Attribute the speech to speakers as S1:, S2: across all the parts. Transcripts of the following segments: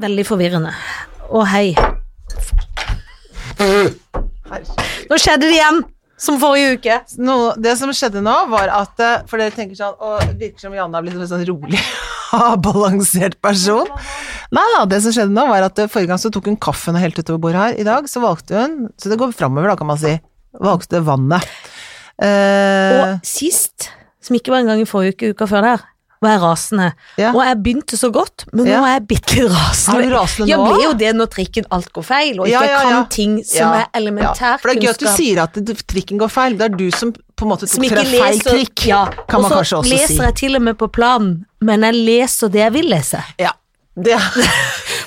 S1: Veldig forvirrende. Å, hei. Nå skjedde det igjen, som forrige uke.
S2: Nå, det som skjedde nå, var at eh, For dere tenker sånn Og det virker som Janne har blitt en sånn rolig, balansert person. Nei da, det som skjedde nå, var at eh, forrige gang så tok hun kaffen og helt utover bordet her. I dag så valgte hun Så det går framover, da, kan man si. Valgte vannet. Eh,
S1: Og sist, som ikke var engang i forrige uke, uka før der, var jeg rasende.
S2: Ja.
S1: Og jeg begynte så godt, men nå
S2: Ja.
S1: er jeg bitte litt rasende.
S2: Er du rasende
S1: Jeg
S2: nå?
S1: blir jo det når trikken alt går feil, og ikke
S2: Ja, ja, ja.
S1: kan ting som
S2: Ja,
S1: er elementær
S2: For det er gøy at du
S1: kunnskap.
S2: sier at det- trikken går feil. Det er du som på en måte
S1: som
S2: tok
S1: ikke
S2: fra feil
S1: leser
S2: trikk,
S1: ja.
S2: kan man
S1: og
S2: kanskje
S1: så
S2: også si.
S1: leser jeg til og med på planen, men jeg leser det jeg vil lese.
S2: Ja. Det,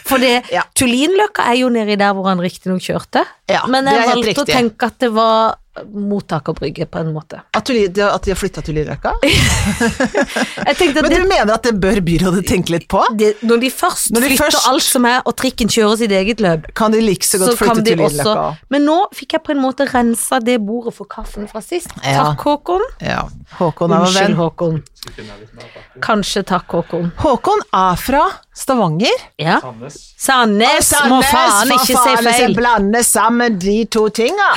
S1: For det,
S2: Ja.
S1: Tullinløkka er jo nedi der hvor han riktignok kjørte,
S2: Ja,
S1: men
S2: det
S1: jeg
S2: er helt
S1: valgte å
S2: riktig.
S1: tenke at det var mottakerbrygge, på en måte.
S2: at, du, det- at de har flytta til Lilleløkka?
S1: Jeg tenkte at
S2: Men
S1: det,
S2: du mener at det bør byrådet tenke litt på?
S1: det, når de først
S2: Når de
S1: flytter
S2: først-
S1: alt som er, og trikken kjører sitt eget løp,
S2: Kan de like så
S1: så
S2: godt
S1: kan
S2: flytte
S1: de
S2: til
S1: også
S2: Lilleløkka?
S1: Men nå fikk jeg på en måte rensa det bordet for kaffen fra sist.
S2: Ja.
S1: Takk, Håkon.
S2: Ja. Håkon er vår
S1: Unnskyld,
S2: venn.
S1: Håkon. Kanskje takk, Håkon.
S2: Håkon er fra Stavanger.
S1: Ja. Sandnes må faen ikke si feil.
S2: blande sammen de to tinga.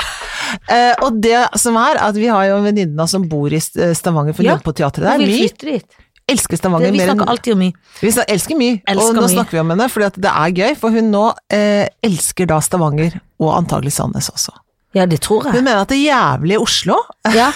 S2: Eh, og det som er, at vi har jo en venninne av som bor i St- eh, Stavanger, for hun
S1: Ja.
S2: jobber på teatret
S1: Hun
S2: der.
S1: vil
S2: My
S1: flytte dit.
S2: elsker Stavanger
S1: Det, vi
S2: mer enn
S1: snakker alltid om i.
S2: Vi snak- elsker mye,
S1: Elsker
S2: og nå
S1: mye.
S2: snakker vi om henne fordi at det er gøy, for hun nå eh, elsker da Stavanger, og antagelig Sandnes også.
S1: Ja, det tror jeg.
S2: Hun mener at det jævlige Oslo
S1: Ja.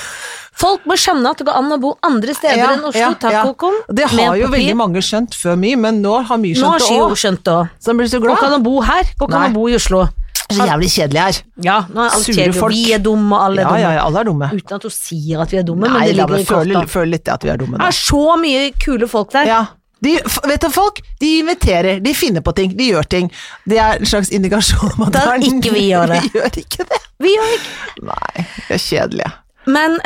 S1: Folk må skjønne at det går an å bo andre steder
S2: Ja,
S1: enn Oslo.
S2: ja,
S1: Takk,
S2: ja.
S1: Håkon.
S2: Det har
S1: Mer
S2: jo
S1: papir.
S2: veldig mange skjønt før mye, men nå har mye
S1: Nå
S2: skjønt
S1: har
S2: det
S1: Skio
S2: òg.
S1: skjønt det òg.
S2: Så han blir så
S1: Går
S2: glad.
S1: ikke an å bo her. Går ikke an
S2: Nei.
S1: å bo i Oslo.
S2: Så jævlig kjedelig her.
S1: Ja, nå er alt
S2: Sure
S1: kjedelig. og
S2: folk.
S1: Vi er dumme, og alle er
S2: Ja,
S1: dumme.
S2: ja, ja, alle er dumme.
S1: Uten at hun sier at vi er dumme,
S2: Nei,
S1: men det
S2: la
S1: ligger
S2: meg
S1: i korta.
S2: føle, føle litt at vi er dumme
S1: Det
S2: nå.
S1: er så mye kule folk der.
S2: Ja. De, f- vet du, folk de inviterer, de finner på ting, de gjør ting. Det er en slags indikasjon om at
S1: Da
S2: det er-
S1: ikke vi gjør det.
S2: Vi gjør ikke det.
S1: Vi gjør ikke
S2: Nei, vi er kjedelige.
S1: Men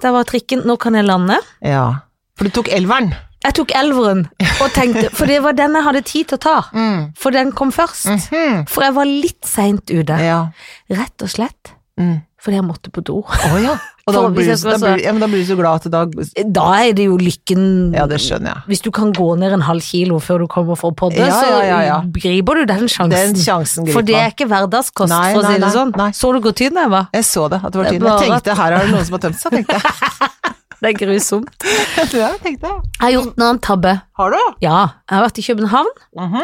S1: der var trikken. Nå kan jeg lande.
S2: Ja. For du tok elveren.
S1: Jeg tok elveren og tenkte For det var den jeg hadde tid til å ta.
S2: Mm.
S1: For den kom først. For jeg var litt seint ute.
S2: Ja.
S1: Rett og slett
S2: Mm.
S1: fordi jeg måtte på do.
S2: Å ja. Og da
S1: For
S2: blir,
S1: hvis jeg
S2: du,
S1: skal
S2: da,
S1: så-
S2: blir, ja, men da blir du så glad at da
S1: Da er det jo lykken
S2: Ja, det skjønner jeg.
S1: Hvis du kan gå ned en halv kilo før du kommer for å podde,
S2: Ja, ja, ja, ja.
S1: så griper du den sjansen.
S2: Den sjansen griper
S1: for det er
S2: man.
S1: ikke hverdagskost,
S2: Nei,
S1: for å
S2: nei,
S1: si det
S2: nei,
S1: sånn.
S2: nei.
S1: Så du hvor tynn jeg var?
S2: Jeg så det, at det var
S1: Det er
S2: tydelig. Jeg
S1: bare
S2: tenkte her er det noen som har tømt seg, tenkte jeg.
S1: Det er grusomt.
S2: Ja, tenkte jeg.
S1: Jeg har gjort en annen tabbe.
S2: Har du?
S1: Ja, jeg har vært i København.
S2: Mhm.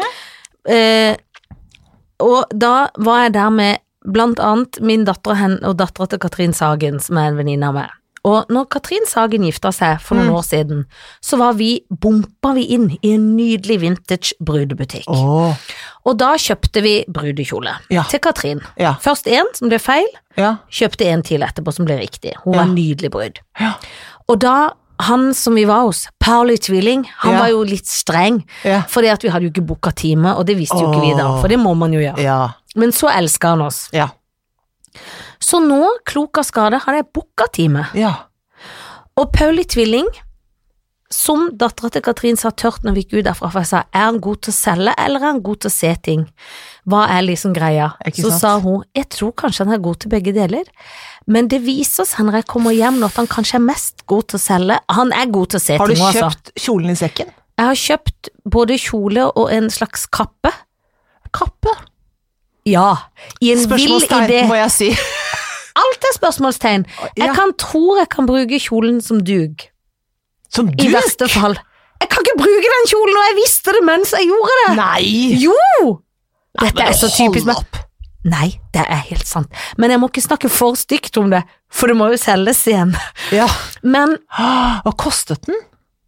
S1: eh, og da var jeg der med blant annet min datter og, hen- og dattera til Katrin Sagen, som er en venninne av meg. Og når Katrin Sagen gifta seg for
S2: Mm.
S1: noen år siden, så var vi, bompa vi inn i en nydelig vintage brudebutikk.
S2: Åh.
S1: Og da kjøpte vi brudekjole
S2: Ja.
S1: til Katrin.
S2: Ja.
S1: Først én som ble feil,
S2: Ja.
S1: kjøpte en til etterpå som ble riktig. Hun var
S2: Ja.
S1: en nydelig brud.
S2: Ja.
S1: Og da han som vi var hos, Pauli Tvilling, han
S2: Ja.
S1: var jo litt streng,
S2: Ja.
S1: fordi at vi hadde jo ikke booka time, og det visste jo ikke vi da,
S2: Åh.
S1: for det må man jo gjøre.
S2: Ja.
S1: Men så elska han oss.
S2: Ja.
S1: Så nå, klok av skade, hadde jeg booka time.
S2: Ja.
S1: Og Pauli Tvilling, som dattera til Katrin sa tørt når vi gikk ut derfra, for jeg sa er han god til å selge, eller er han god til å se ting? Hva er liksom greia?
S2: Ikke
S1: Så
S2: sant?
S1: sa hun jeg tror kanskje han er god til begge deler, men det viser seg når jeg kommer hjem nå at han kanskje er mest god til å selge. Han er god til å se
S2: Har du
S1: ting, også.
S2: kjøpt kjolen i sekken?
S1: Jeg har kjøpt både kjole og en slags kappe.
S2: Kappe?
S1: Ja, i en vill idé.
S2: Spørsmålstegn, må jeg si.
S1: Alt er spørsmålstegn. Jeg
S2: Ja.
S1: kan tror jeg kan bruke kjolen som dug.
S2: Som
S1: I
S2: du?
S1: verste fall. Jeg kan ikke bruke den kjolen, og jeg visste det mens jeg gjorde det.
S2: Nei!
S1: Jo! Dette er så typisk
S2: Hold
S1: meg.
S2: opp.
S1: Nei, det er helt sant. Men jeg må ikke snakke for stygt om det, for det må jo selges igjen.
S2: Ja.
S1: Men
S2: Åh, Hva kostet den?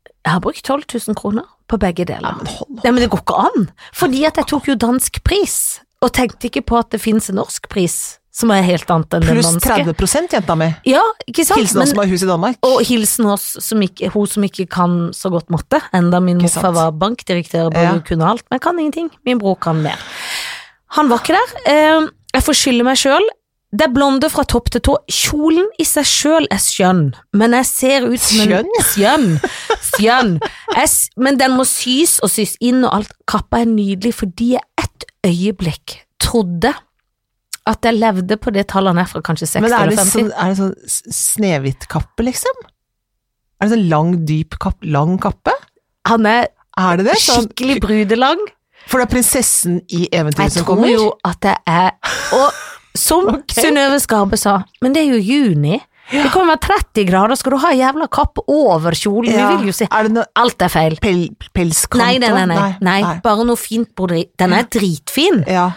S1: jeg har brukt 12 000 kroner på begge deler.
S2: hold
S1: Nei, men det går ikke an. Fordi at jeg tok jo dansk pris, og tenkte ikke på at det finnes en norsk pris, som er helt annet enn den
S2: Pluss
S1: danske.
S2: 30 jenta mi.
S1: Ja, ikke sant?
S2: Hilsen
S1: Men-
S2: oss som har hus i Danmark.
S1: Og hilsen oss som ikke, hun som ikke kan så godt måtte, enda min
S2: Ikke sant.
S1: morfar var bankdirektør og
S2: Ja.
S1: burde kunne alt, men kan ingenting. Min bror kan mer. Han var ikke der. Eh, Jeg får skylde meg sjøl. Det er blonde fra topp til tå. Kjolen i seg sjøl er skjønn, men jeg ser ut som en Skjønn. Skjønn. Jeg s- Men den må sys og sys inn og alt. Kappa er nydelig fordi jeg et øyeblikk trodde at jeg levde på det tallet han er fra kanskje 60
S2: Men er
S1: eller
S2: det
S1: 50.
S2: sånn, er det sånn s- Snehvit-kappe, liksom? Er det sånn lang, dyp kapp, lang kappe?
S1: Han er
S2: Er det det? Sånn,
S1: skikkelig brudelang.
S2: For det er prinsessen i eventyret
S1: Jeg
S2: som
S1: tror
S2: kommer.
S1: jo at det er Og som
S2: Ok.
S1: Synnøve Skarbe sa, men det er jo juni. Det kan være 30 grader, skal du ha jævla kapp over kjolen?
S2: Ja.
S1: Vi vil jo se.
S2: Er det noe
S1: Alt er feil.
S2: pel, pelskant?
S1: Nei, nei, nei, nei,
S2: også?
S1: nei. Bare noe fint broderi. Den er dritfin.
S2: Ja.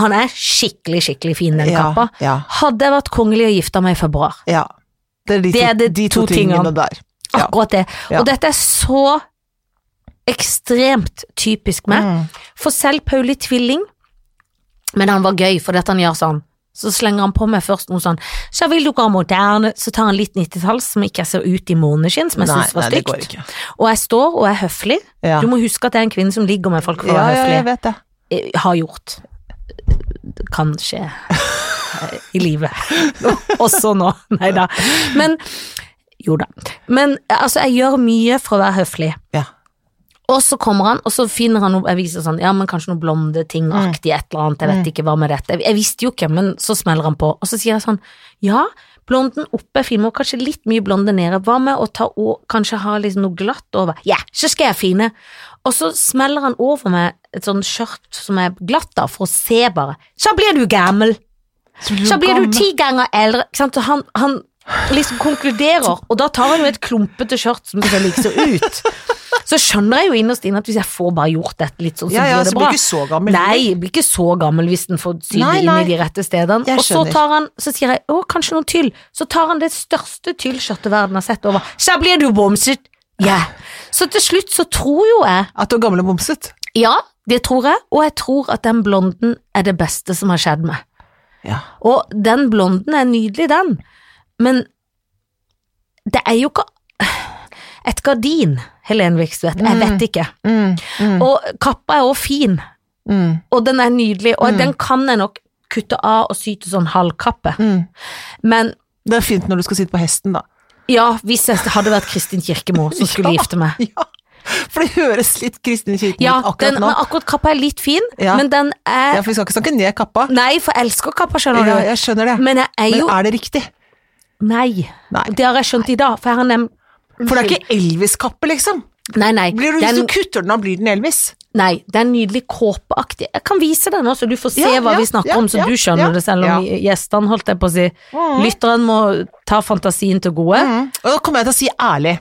S1: Han er skikkelig, skikkelig fin, den
S2: ja,
S1: kappa.
S2: ja,
S1: Hadde jeg vært kongelig og gifta meg i februar.
S2: ja. Det er de,
S1: Det er
S2: to,
S1: de
S2: de to,
S1: to
S2: tingene,
S1: tingene.
S2: der. Ja.
S1: Akkurat det.
S2: Ja.
S1: Og dette er så ekstremt typisk meg.
S2: Mm.
S1: For selv Pauli Tvilling Men han var gøy fordi at han gjør sånn Så slenger han på meg først noe sånn Så vil du ikke ha moderne Så tar han litt 90-talls som ikke jeg ser ut i måneskinn Som jeg
S2: Nei,
S1: synes var
S2: nei, det går
S1: stygt
S2: ikke.
S1: Og jeg står og er høflig
S2: Ja.
S1: Du må huske at jeg er en kvinne som ligger med folk for å
S2: ja,
S1: være
S2: ja, jeg
S1: høflig
S2: vet det.
S1: Eh, Har gjort Det Kan skje eh, I livet Også nå, neida Men, jo da Men altså, jeg gjør mye for å være høflig
S2: Ja.
S1: og så kommer han, og så finner han noe, jeg viser sånn, ja, men kanskje noe blonde ting-aktig, et eller annet, jeg vet ikke hva med dette. Jeg, jeg visste jo ikke, men så smeller han på, og så sier jeg sånn, ja, blonden oppe er fin, og kanskje litt mye blonde nede, hva med å ta og kanskje ha liksom noe glatt over? Ja, så skal jeg fine. Og så smeller han over med et sånn skjørt som er glatt da, for å se bare, så blir du gammel, så blir du ti ganger eldre, ikke sant, så han, han liksom konkluderer, og da tar han jo et klumpete skjørt som selvfølgelig ikke ser ut. Så skjønner jeg jo innerst inne at hvis jeg får bare gjort dette litt sånn, så
S2: Ja, ja,
S1: blir
S2: så
S1: det
S2: blir
S1: bra.
S2: du ikke så gammel.
S1: Nei, jeg blir ikke så gammel hvis den får sy det
S2: Nei,
S1: inn
S2: nei.
S1: i de rette stedene.
S2: Jeg
S1: Og så
S2: skjønner.
S1: tar han, så sier jeg å, kanskje noen tyll. Så tar han det største tyllskjørtet verden har sett over. Så blir du bomset. Ja. Så til slutt så tror jo jeg,
S2: At du er gammel og bomset.
S1: ja, det tror jeg, og jeg tror at den blonden er det beste som har skjedd meg.
S2: Ja.
S1: Og den blonden er nydelig, den. Men det er jo ikke et gardin, Helen Vikstvedt. Jeg vet ikke.
S2: Mm, mm,
S1: Og kappa er også fin,
S2: mm,
S1: og den er nydelig, og
S2: Mm.
S1: den kan jeg nok kutte av og sy til sånn halvkappe.
S2: mm.
S1: Men
S2: Det er fint når du skal sitte på hesten, da.
S1: ja, hvis jeg hadde vært Kristin Kirkemo som skulle
S2: Ja.
S1: gifte meg.
S2: Ja, for det høres litt Kristin Kirken
S1: Ja,
S2: ut akkurat
S1: den,
S2: nå.
S1: men akkurat kappa er litt fin,
S2: Ja.
S1: men den
S2: Ja,
S1: er
S2: for vi skal ikke snakke ned kappa.
S1: Nei, for jeg elsker kappa, skjønner
S2: Ja,
S1: du.
S2: jeg skjønner det.
S1: Men jeg er
S2: Men
S1: jo
S2: er det riktig?
S1: Nei.
S2: Nei.
S1: Det har jeg skjønt i dag, for jeg har nevnt
S2: For det er ikke Elvis-kappe, liksom.
S1: Nei, nei.
S2: Blir du,
S1: den-
S2: hvis du kutter den av, blir den Elvis.
S1: Nei, det er en nydelig kåpeaktig Jeg kan vise deg nå, så du får se
S2: Ja,
S1: hva
S2: ja,
S1: vi snakker
S2: ja,
S1: om, så
S2: ja,
S1: du skjønner
S2: ja, Mm.
S1: det, selv om gjestene, holdt jeg på å si. Lytteren må ta fantasien til gode.
S2: Og da kommer jeg til å si ærlig.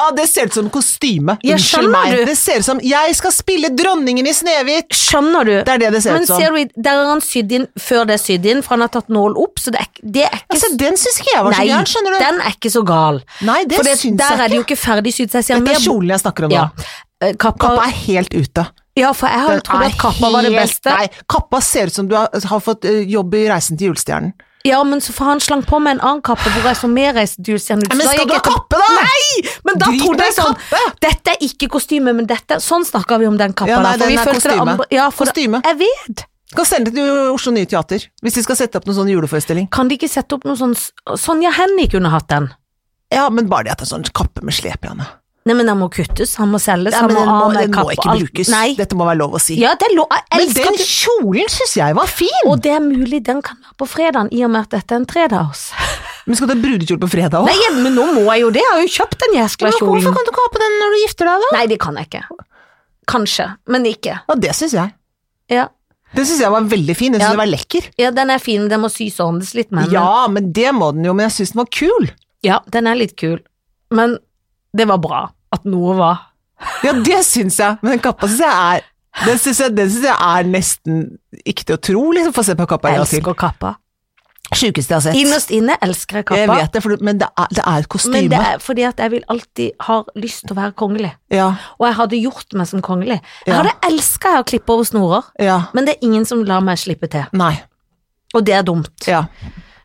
S2: ja, det ser ut som kostyme.
S1: Ja, skjønner
S2: Unnskyld meg.
S1: du?
S2: Det ser ut som 'Jeg skal spille dronningen i Snehvit'.
S1: Skjønner du?
S2: Det er det det ser
S1: Men
S2: ut som.
S1: ser du, der er han sydd inn før det er sydd inn, for han har tatt nål opp, så det er, det er ikke
S2: Altså, den syns ikke jeg var så
S1: Nei,
S2: gæren, skjønner du.
S1: den er ikke så gal.
S2: Nei, det
S1: for det,
S2: syns
S1: der
S2: jeg
S1: er
S2: ikke.
S1: det jo ikke ferdig sydd, så jeg sier
S2: Dette er
S1: mer
S2: kjolen jeg snakker om
S1: ja.
S2: nå.
S1: Eh, Kappa,
S2: Kappa er helt ute.
S1: Ja, for jeg har jo
S2: Den
S1: trodd
S2: er
S1: at kappa var det
S2: helt-
S1: beste.
S2: Nei, kappa ser ut som du har, har fått eh, jobb i Reisen til julestjernen.
S1: Ja, men så for han slang på med en annen kappe hvor jeg så mer reisedulsen ut.
S2: Ja, men
S1: Så da gikk
S2: skal du ha
S1: jeg til-
S2: kappe, da?
S1: Nei! Men da
S2: Drit
S1: trodde
S2: med
S1: jeg sånn
S2: kappe!
S1: Dette er ikke kostyme, men dette Sånn snakka vi om den kappa.
S2: Ja,
S1: da,
S2: nei,
S1: for
S2: den
S1: vi
S2: er
S1: følte det
S2: kostyme.
S1: andre- Ja, for det-
S2: Kostyme.
S1: Jeg vet.
S2: Skal sende det til Oslo Nye Teater, hvis de skal sette opp noen sånn juleforestilling.
S1: Kan de ikke sette opp noe sånn s- Sonja Hennie kunne hatt den.
S2: Ja, men bare det at det er sånn kappe med slep, Janne.
S1: Nei, men den må kuttes, han må selges,
S2: Ja,
S1: han
S2: men
S1: må
S2: den
S1: av
S2: må,
S1: med
S2: den må
S1: kappa,
S2: ikke
S1: alt-
S2: brukes.
S1: Nei.
S2: Dette må være lov å si.
S1: Ja, det lå Jeg
S2: men
S1: elsker
S2: den
S1: at du-
S2: kjolen syns jeg var fin!
S1: Og det er mulig den kan være på fredagen, i og med at dette er en tredagers.
S2: Men skal du ha brudekjole på fredag
S1: Nei,
S2: òg?
S1: men nå må jeg jo det, jeg har jo kjøpt den jæskla
S2: Hvorfor
S1: kjolen.
S2: kan du ikke ha på den når du gifter deg, da?
S1: Nei, det kan jeg ikke. Kanskje, men ikke.
S2: Ja, det syns jeg.
S1: Ja.
S2: Den syns jeg var veldig fin. Den syns
S1: Ja.
S2: jeg var lekker.
S1: Ja, den er fin, den må sys og åndes litt, men
S2: Ja, men det må den jo, men jeg syns den var kul.
S1: Ja, den er litt kul. Men det var bra at noe var
S2: Ja, det syns jeg, men den kappa syns jeg er den syns jeg, den syns jeg er nesten ikke til å tro, liksom. Få se på kappa
S1: Jeg
S2: en gang til.
S1: elsker kappa.
S2: Sjukeste jeg har sett.
S1: Innerst inne elsker jeg kappa.
S2: Jeg vet det, for, du- men det er, det er et kostyme.
S1: men det er fordi at jeg vil alltid har lyst til å være kongelig.
S2: Ja,
S1: Og jeg hadde gjort meg som kongelig. Jeg
S2: Ja.
S1: hadde elska å klippe over snorer,
S2: ja.
S1: men det er ingen som lar meg slippe til.
S2: Nei.
S1: Og det er dumt.
S2: Ja.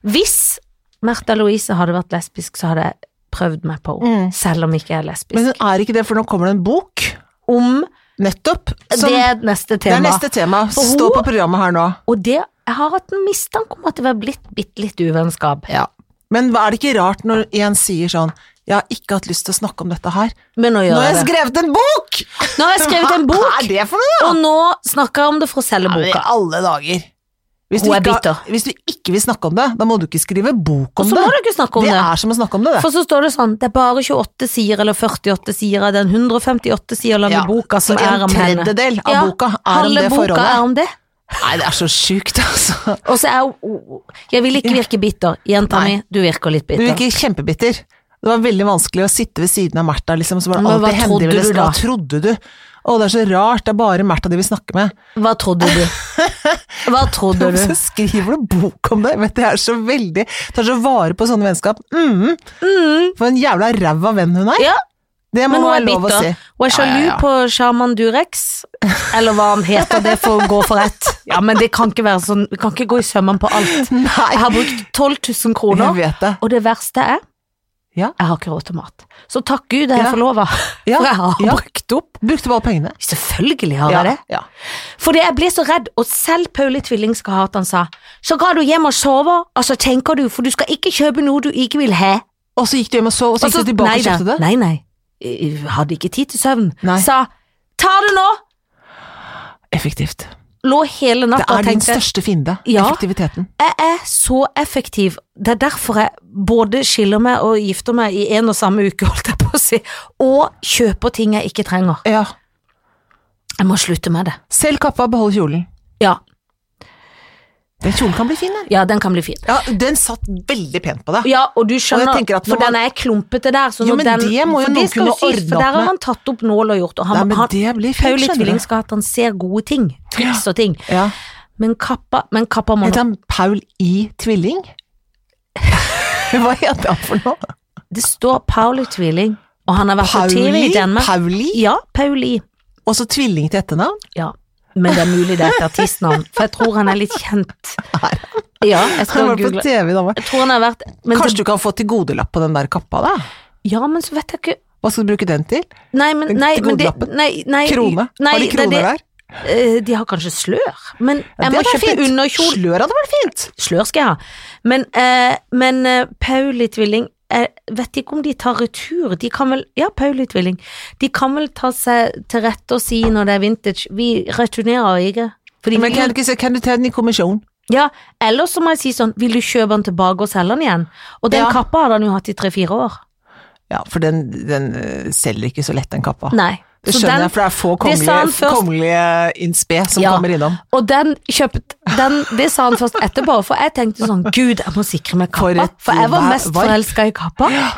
S1: Hvis Märtha Louise hadde vært lesbisk, så hadde jeg prøvd meg på henne.
S2: Mm.
S1: Selv om ikke jeg er
S2: Men
S1: lesbisk.
S2: hun er ikke det, for nå kommer det en bok,
S1: Om
S2: nettopp, som
S1: det er neste
S2: Det
S1: tema.
S2: er neste tema.
S1: For
S2: Stå
S1: hun-
S2: på programmet her nå.
S1: Og det, jeg har hatt en mistanke om at det var blitt bitte litt uvennskap.
S2: Men hva- er det ikke rart når en sier sånn Jeg har ikke hatt lyst til å snakke om dette her.
S1: Men nå
S2: Nå
S1: gjør
S2: har
S1: jeg
S2: jeg
S1: det.
S2: skrevet en bok!
S1: Nå har jeg skrevet en
S2: Hva er
S1: bok,
S2: det for noe, da?
S1: og nå snakker jeg om det for å selge
S2: Ja, men I
S1: boka.
S2: alle dager. Hvis du,
S1: Hun er
S2: ikke, har-
S1: bitter.
S2: hvis du ikke vil snakke om det, da må du ikke skrive bok
S1: Og
S2: om
S1: så
S2: det.
S1: må du ikke snakke om
S2: det
S1: det.
S2: er som å snakke om det, det.
S1: For så står det sånn, det er bare 28 sider eller 48 sider av den 158 sider lange
S2: Ja,
S1: boka som
S2: så en
S1: er om henne.
S2: tredjedel av boka er om
S1: halve
S2: det
S1: boka
S2: forholdet.
S1: er om det.
S2: Nei, det er så sjukt, altså.
S1: Og så er hun Jeg vil ikke virke bitter. Jenta
S2: Nei.
S1: mi, du virker litt
S2: Du
S1: bitter.
S2: virker kjempebitter. Det var veldig vanskelig å sitte ved siden av Märtha, liksom. Så var det
S1: Men hva
S2: alltid
S1: trodde
S2: hendig med det.
S1: du da?
S2: Hva trodde du? Å, det er så rart, det er bare Märtha de vil snakke med.
S1: Hva trodde du? Hva trodde du?
S2: Så skriver du bok om det, vet du, jeg er så veldig Tar så vare på sånne vennskap. Mm. For en jævla ræva venn hun er.
S1: Ja,
S2: Det må
S1: men hun
S2: være
S1: er
S2: lov å si.
S1: bitter. Hun er
S2: Ja, ja,
S1: sjalu
S2: ja.
S1: på Sjarman Durex, eller hva han heter, det får gå for ett. Ja, men det kan ikke være sånn, vi kan ikke gå i sømmene på alt.
S2: Nei,
S1: Jeg har brukt 12 000
S2: jeg
S1: kroner,
S2: vet det.
S1: og det verste er
S2: Ja.
S1: Jeg har ikke råd til mat. Så takk Gud jeg er
S2: Ja.
S1: forlova,
S2: Ja,
S1: for jeg har
S2: ja.
S1: brukt opp.
S2: Brukte bare pengene.
S1: Selvfølgelig har jeg det.
S2: ja.
S1: Fordi jeg blir så redd, og selv Pauli Tvilling skal ha at han sa Så går du hjem og sover, og så tenker du, for du skal ikke kjøpe noe du ikke vil ha.
S2: Og så gikk du hjem og så, og så gikk
S1: Altså,
S2: du tilbake og
S1: nei da,
S2: kjøpte det?
S1: Nei, nei. Jeg hadde ikke tid til søvn.
S2: Nei.
S1: Sa ta det nå!
S2: Effektivt.
S1: Lå hele
S2: Det
S1: natta og
S2: er din
S1: tenkte
S2: største fiende.
S1: Ja.
S2: Effektiviteten.
S1: jeg er så effektiv. Det er derfor jeg både skiller meg og gifter meg i en og samme uke, holdt jeg på å si, og kjøper ting jeg ikke trenger.
S2: Ja.
S1: Jeg må slutte med det.
S2: Selv kappa, behold kjolen.
S1: Ja,
S2: Den kjolen kan bli fin, den.
S1: ja den kan bli fin.
S2: Ja, den satt veldig pent på deg.
S1: Ja, og du skjønner,
S2: Og jeg tenker at når
S1: for den
S2: man-
S1: er klumpete der. Så
S2: Jo,
S1: når
S2: men
S1: den,
S2: det må jo
S1: for
S2: noen
S1: skal
S2: kunne
S1: jo sies,
S2: ordne
S1: For
S2: opp
S1: der har
S2: med.
S1: han tatt opp nål og gjort, og han,
S2: Nei, men
S1: han
S2: det blir fint,
S1: Pauli
S2: skjønner
S1: Tvilling
S2: du.
S1: skal ha at han ser gode ting, triks og ting.
S2: Ja.
S1: Men kappa, men kappa må
S2: Heter han Paul I. Tvilling? Hva heter han for noe?
S1: Det står Pauli Tvilling, og han har vært på TV i Danmark.
S2: Pauli?
S1: Ja, Pauli.
S2: Og så tvilling til etternavn?
S1: Ja. Men det er mulig det er et artistnavn, for jeg tror han er litt kjent. Ja, jeg
S2: Han
S1: skal
S2: var på
S1: google.
S2: TV i Danmark.
S1: Jeg tror han har vært men
S2: Kanskje
S1: det,
S2: du kan få tilgodelapp på den der kappa, da?
S1: Ja, men så vet jeg ikke
S2: Hva skal du bruke den til?
S1: Nei, men, nei, men det,
S2: Godlappen.
S1: nei, nei,
S2: Krone?
S1: Nei,
S2: har de
S1: det er det-
S2: kroner der?
S1: Eh, De har kanskje slør, men jeg må
S2: det hadde vært
S1: kjøpe
S2: fint.
S1: underkjol.
S2: Slør hadde vært fint!
S1: Slør skal jeg ha. Men, eh, men eh, Pauli Tvilling jeg vet ikke om de tar retur. De kan vel Ja, Pauli Tvilling. De kan vel ta seg til rette og si når det er vintage Vi returnerer ikke. Fordi
S2: Men
S1: vi
S2: kan du, ikke, se- kan du ta den i kommisjon?
S1: Ja, eller så må jeg si sånn Vil du kjøpe den tilbake og selge den igjen? Og den
S2: Ja.
S1: kappa hadde han jo hatt i tre-fire år.
S2: Ja, for den, den eh, selger ikke så lett, den kappa.
S1: Nei.
S2: Det
S1: Så
S2: skjønner
S1: den-
S2: jeg, for det er få
S1: det sa
S2: kongelige,
S1: han først.
S2: kongelige in spe som
S1: Ja.
S2: kommer innom.
S1: Og den kjøpt den, Det sa han først etterpå, for jeg tenkte sånn Gud, jeg må sikre meg
S2: For
S1: kappa.
S2: et
S1: For jeg var
S2: var-
S1: mest
S2: varp.
S1: forelska i kappa.